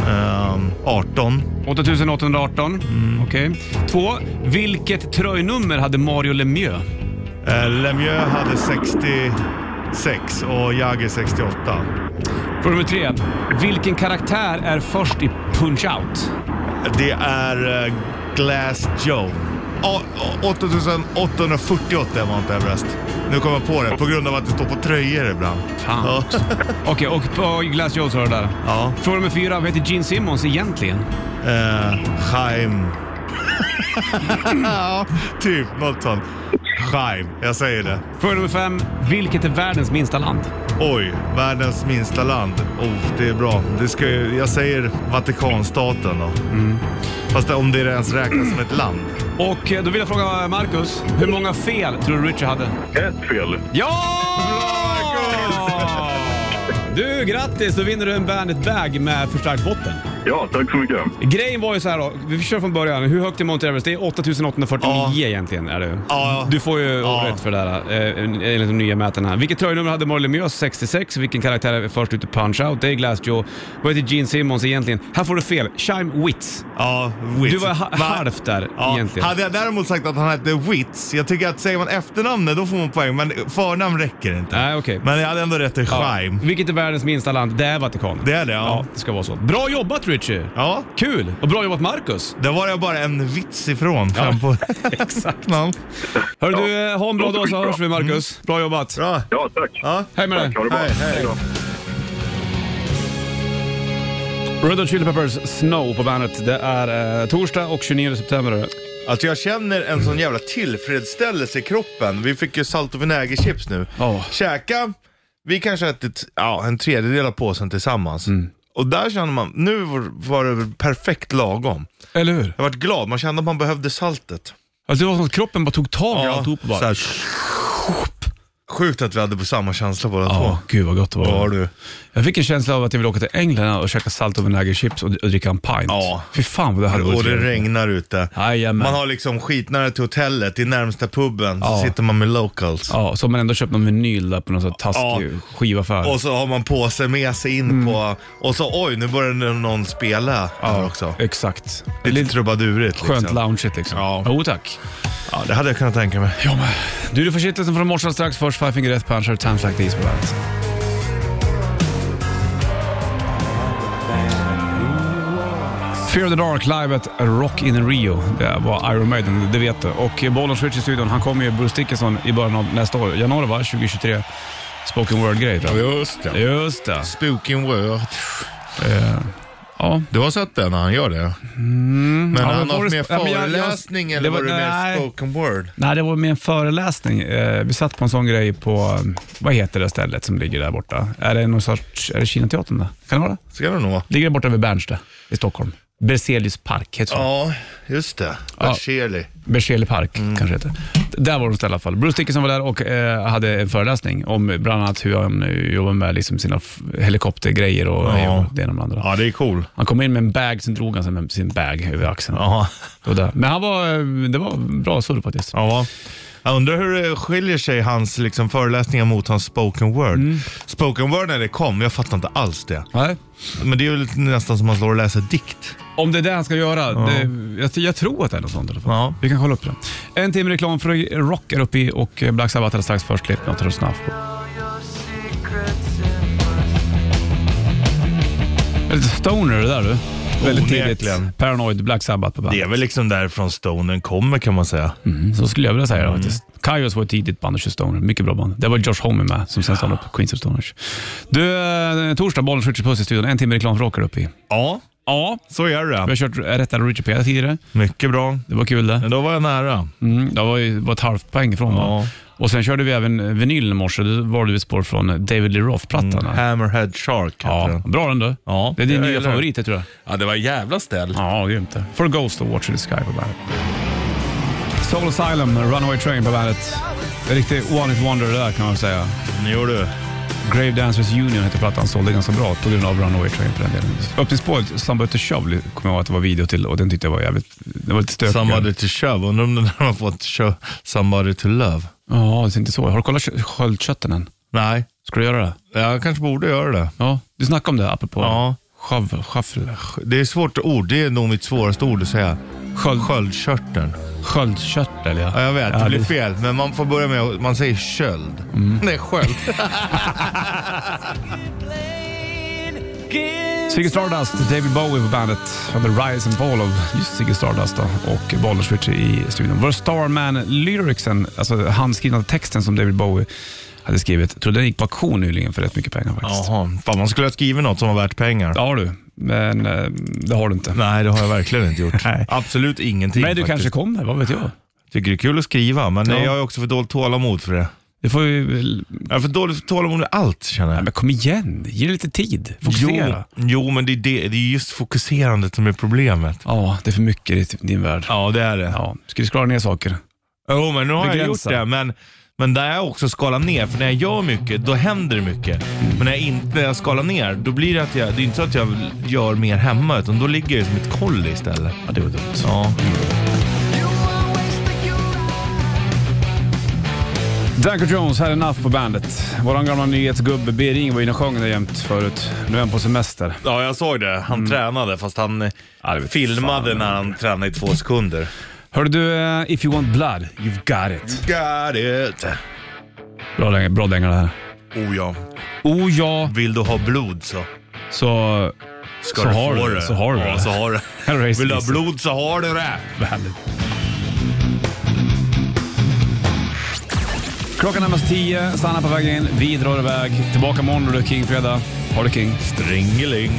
Speaker 3: Ehm, 18.
Speaker 2: 8818.
Speaker 3: Mm.
Speaker 2: Okej. Två. Vilket tröjnummer hade Mario Lemieux?
Speaker 3: Eh, Lemieux hade 66 och Jagger 68.
Speaker 2: Fråga nummer tre. Vilken karaktär är först i Punch-Out?
Speaker 3: Det är eh, Glass Joe. Ja, å- 8848 är Mount Everest. Nu kommer jag på det, på grund av att det står på tröjor ibland.
Speaker 2: Fan.
Speaker 3: Ja.
Speaker 2: Ah. Okej, och på Glass Joe sa du där.
Speaker 3: Ja.
Speaker 2: Fråga nummer fyra. Vad heter Gene Simmons egentligen?
Speaker 3: Eh, Chaim. ja, typ något sånt. Chaim, jag säger det.
Speaker 2: Fråga nummer fem. Vilket är världens minsta land?
Speaker 3: Oj, världens minsta land. Oh, det är bra. Det ska, ju- jag säger Vatikanstaten då. Fast om det ens räknas som ett land.
Speaker 2: Och eh, då vill jag fråga Marcus. Hur många fel tror du Richard hade?
Speaker 7: Ett fel.
Speaker 2: Ja! Du, grattis! Då vinner du en Bandit Bag med förstärkt botten.
Speaker 7: Ja, tack så mycket.
Speaker 2: Grejen var ju så här då, vi kör från början. Hur högt är Mount Everest? Det är 8849
Speaker 3: Ja.
Speaker 2: egentligen. Är det.
Speaker 3: Ja.
Speaker 2: Du får ju
Speaker 3: Ja.
Speaker 2: rätt för det där eh, enligt de nya mätarna. Vilket tröjnummer hade Marilyn Lemieux? 66. Vilken karaktär är först ute Punch-Out? Det är Glassjaw. Vad heter Gene Simmons egentligen? Här får du fel. Chime Wits.
Speaker 3: Ja, Wits.
Speaker 2: Du var ha-
Speaker 3: Va-
Speaker 2: halvt där egentligen.
Speaker 3: Hade jag däremot sagt att han hette Wits, jag tycker att säger man efternamnet då får man poäng, men förnamn räcker inte.
Speaker 2: Nej, okej.
Speaker 3: Men jag hade ändå rätt till
Speaker 2: Ja.
Speaker 3: Scheim.
Speaker 2: Vilket är världens minsta land? Det är Vatikanen.
Speaker 3: Det är det, ja.
Speaker 2: Ja, det ska vara så. Bra jobbat Richie!
Speaker 3: Ja.
Speaker 2: Kul! Och bra jobbat Marcus!
Speaker 3: Där var jag bara en vits ifrån. Fram på
Speaker 2: Exakt.
Speaker 3: namn.
Speaker 2: Hör du, eh, ha en bra dag så
Speaker 7: Bra.
Speaker 2: hörs vi Marcus. Bra jobbat.
Speaker 3: Mm. Bra.
Speaker 7: Ja, tack.
Speaker 3: Ja.
Speaker 2: Hej med dig.
Speaker 7: Tack, ha det bra.
Speaker 3: Hej, hej.
Speaker 7: då.
Speaker 2: Red Hot Chili Peppers Snow på bandet. Det är eh, torsdag och 29 september.
Speaker 3: Alltså jag känner en sån jävla tillfredsställelse i kroppen. Vi fick ju salt och vinägerchips nu.
Speaker 2: Ja.
Speaker 3: Käka, vi kanske ätit ja, en tredjedel av påsen tillsammans. Och där känner man, nu var- var det perfekt lagom.
Speaker 2: Eller hur?
Speaker 3: Jag varit glad, man kände att man behövde saltet.
Speaker 2: Alltså, det var som att kroppen bara tog tag i alltihop och bara...
Speaker 3: så här, Sjukt att vi hade på samma känsla båda
Speaker 2: Ja,
Speaker 3: två.
Speaker 2: gud vad gott det var.
Speaker 3: Ja du.
Speaker 2: Jag fick en känsla av att jag ville åka till England och käka salt och vinägerchips och, och dricka en pint.
Speaker 3: Ja.
Speaker 2: Fy fan vad det hade
Speaker 3: Och
Speaker 2: varit
Speaker 3: det
Speaker 2: trevligt.
Speaker 3: regnar ute.
Speaker 2: Jajamän.
Speaker 3: Man har liksom skitnära till hotellet, i närmsta puben, så
Speaker 2: Ja.
Speaker 3: sitter man med locals.
Speaker 2: Ja, så har man ändå köpt någon vinyl där på någon sån här taskig
Speaker 3: Ja.
Speaker 2: skivaffär.
Speaker 3: Och så har man påse med sig in
Speaker 2: Mm.
Speaker 3: på... Och så oj, nu börjar nu någon spela här också.
Speaker 2: Exakt.
Speaker 3: Lite trubadurigt
Speaker 2: Skönt
Speaker 3: liksom.
Speaker 2: loungeigt liksom.
Speaker 3: Ja.
Speaker 2: Jo tack.
Speaker 3: Ja, det hade jag kunnat tänka mig.
Speaker 2: Ja, men. Du, du får shitlisten från morse strax. Först Five Finger Death Punch och Times Like These på bandet. Fear the Dark live at Rock in Rio. Det var Iron Maiden, det vet du. Och Bollens Switch i studion, han kommer ju Bruce Dickinson i början av nästa år. Januari va? 2023. Spoken word-grej. va?
Speaker 3: Just
Speaker 2: Just det.
Speaker 3: Spoken word.
Speaker 2: Eh, Ja.
Speaker 3: Du har sett den när han gör det? men
Speaker 2: Mm. ja,
Speaker 3: han
Speaker 2: men
Speaker 3: har
Speaker 2: får
Speaker 3: haft
Speaker 2: du-
Speaker 3: mer
Speaker 2: ja, men jag- jag-
Speaker 3: föreläsning
Speaker 2: det
Speaker 3: eller
Speaker 2: var-
Speaker 3: var, det mer
Speaker 2: nej.
Speaker 3: spoken word?
Speaker 2: Nej, det var med en föreläsning. Eh, vi satt på en sån grej på, eh, vad heter det stället som ligger där borta? Är det någon sorts, är det Kinateatern där? Kan det vara det?
Speaker 3: Ska det nog vara.
Speaker 2: Ligger där borta vid Berns i Stockholm. Berzelius park heter det.
Speaker 3: Ja, just det. Berzelii.
Speaker 2: Berzelius park
Speaker 3: Mm.
Speaker 2: kanske heter det. Där var de ställda i alla fall. Bruce Dickinson var där och eh, hade en föreläsning om bland annat hur han eh, jobbar med liksom sina f- helikoptergrejer och
Speaker 3: Ja.
Speaker 2: och det ena med det andra.
Speaker 3: Ja, det är cool.
Speaker 2: Han kom in med en bag, sen drog han sig med sin bag över axeln.
Speaker 3: Ja.
Speaker 2: Det var där. Men han var, eh, det var bra surr faktiskt.
Speaker 3: Ja. Jag undrar hur det skiljer sig hans liksom, föreläsningar mot hans spoken word.
Speaker 2: Mm.
Speaker 3: Spoken word när det kom, jag fattar inte alls det.
Speaker 2: Nej.
Speaker 3: Men det är väl nästan som att man slår och läser dikt.
Speaker 2: Om det är det han ska göra. Det, jag, jag tror att det är något sånt i alla fall.
Speaker 3: Ja.
Speaker 2: Vi kan kolla upp det. En timme reklam för Rock är uppe i och Black Sabbath är strax först. Klipp något att lyssna på. Det är Lite stoner det där du. Väldigt
Speaker 3: Onekligen.
Speaker 2: tidigt. Paranoid, Black Sabbath på
Speaker 3: Det
Speaker 2: bandet.
Speaker 3: är väl liksom därifrån stonen kommer kan man säga.
Speaker 2: Mm, så skulle jag vilja säga det faktiskt. Kaios var ett tidigt band och Shoe Stoner. Mycket bra band. Det var Josh Homme med som sen stannade upp Queens of Stoners. Du, eh, torsdag, bollen skjuts puss i studion. En timme reklam för Rock är uppe i.
Speaker 3: Ja,
Speaker 2: Ja,
Speaker 3: så gör
Speaker 2: vi har
Speaker 3: det.
Speaker 2: kört eh, rättare Richard Peda tidigare.
Speaker 3: Mycket bra.
Speaker 2: Det var kul det.
Speaker 3: Men då var jag nära.
Speaker 2: Mm, det var ju var ett halvt poäng ifrån.
Speaker 3: Ja.
Speaker 2: va? Och sen körde vi även vinyl i morse. Då var det ett spår från David Lee
Speaker 3: Mm.
Speaker 2: Roth-plattan. där.
Speaker 3: Hammerhead Shark heter
Speaker 2: Ja,
Speaker 3: den.
Speaker 2: bra den du.
Speaker 3: Ja,
Speaker 2: det är din
Speaker 3: jag
Speaker 2: nya
Speaker 3: gillar
Speaker 2: favorit, jag tror jag.
Speaker 6: Ja, det var jävla ställ.
Speaker 2: Ja, grymt det. For Ghost och Watch in the Sky på bandet. Soul Asylum, Runaway Train på bandet. En riktig one hit wonder det där kan man säga.
Speaker 3: Nu gör du.
Speaker 2: Grave Dancers Union heter plattan, sålde ganska bra på grund av Runaway Train för den delen. Öppningsspåret, Somebody to Shove, kommer jag ihåg att det var video till och den tyckte jag var jävligt... Det var lite stökig.
Speaker 3: Somebody to shove. Undrar om den där har fått shove. Somebody to love.
Speaker 2: Ja, jag tänkte så. Har du kollat kö- sköldkörteln än?
Speaker 3: Nej,
Speaker 2: Ska du göra det?
Speaker 3: jag kanske borde göra det.
Speaker 2: Ja, du snackade om det apropå
Speaker 3: Ja.
Speaker 2: schav, schaffel,
Speaker 3: Det är svårt ord. Det är nog mitt svåraste ord att säga.
Speaker 2: sköld,
Speaker 3: Sköldkörteln.
Speaker 2: sköldkörtel. Ja.
Speaker 3: Ja, jag vet. Det Mm. blir fel. Men man får börja med att man säger köld. Nej, sköld.
Speaker 2: Ziggy Stardust, David Bowie på bandet. The Rise and Fall of just Ziggy Stardust då, och Bollers Richie i studion. Var Starman lyricsen, alltså handskrivna texten som David Bowie hade skrivit, jag tror den gick på auktion nyligen för rätt mycket pengar faktiskt.
Speaker 3: Jaha. Fan, man skulle ha skrivit något som var värt pengar.
Speaker 2: Det har du, men eh, det har du inte.
Speaker 3: Nej, det har jag verkligen inte gjort.
Speaker 2: Nej.
Speaker 3: Absolut ingenting
Speaker 2: men du
Speaker 3: faktiskt.
Speaker 2: kanske kommer, vad vet jag?
Speaker 3: Tycker det är kul att skriva, men
Speaker 2: Ja.
Speaker 3: jag har också för dåligt tålamod för det.
Speaker 2: Det får ju...
Speaker 3: Jag har för dåligt tålamod med allt, känner
Speaker 2: Nej,
Speaker 3: jag.
Speaker 2: men kom igen, ge det lite tid. Fokusera.
Speaker 3: Jo, jo, men det är, det, det är just fokuserandet som är problemet.
Speaker 2: Ja, det är för mycket i din värld.
Speaker 3: Ja, det är det.
Speaker 2: Ja, ska du skala ner saker?
Speaker 3: Jo, men nu har
Speaker 2: Begränsa.
Speaker 3: jag gjort det. Men, men där har jag också skalat ner. För när jag gör mycket, då händer det mycket. Men när jag inte när jag skalar ner, då blir det att jag... Det är inte så att jag gör mer hemma, utan då ligger jag som ett kolli istället.
Speaker 2: Ja, det var dumt.
Speaker 3: Ja.
Speaker 2: Danko Jones, här är Enough på bandet. Vår gamla nyhetsgubbe Bering var inne och sjöng det jämt förut. Nu är han på semester.
Speaker 3: ja, jag såg det. Han tränade, fast han eh,
Speaker 2: Mm. Ja, det vet
Speaker 3: filmade
Speaker 2: fan.
Speaker 3: när han tränade i två sekunder.
Speaker 2: Hörde du, eh, If You Want Blood, You've Got It.
Speaker 3: Got it!
Speaker 2: Bra, däng- bra dänga det här.
Speaker 3: Oh ja.
Speaker 2: Oh ja,
Speaker 3: Vill du ha blod så
Speaker 2: så...
Speaker 3: ska
Speaker 2: Så
Speaker 3: du
Speaker 2: har
Speaker 3: få
Speaker 2: du-
Speaker 3: det.
Speaker 2: så har du
Speaker 3: ja,
Speaker 2: det.
Speaker 3: Så har du.
Speaker 2: Här är
Speaker 3: Vill du ha
Speaker 2: Race
Speaker 3: blod så har du det.
Speaker 2: Bandet. Klockan närmar sig tio, stanna på vägen in. Vi drar iväg. Tillbaka imorgon då det är King-fredag. Ha det King.
Speaker 3: Stringeling.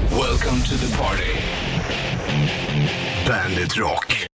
Speaker 1: Welcome to the party. Bandit Rock.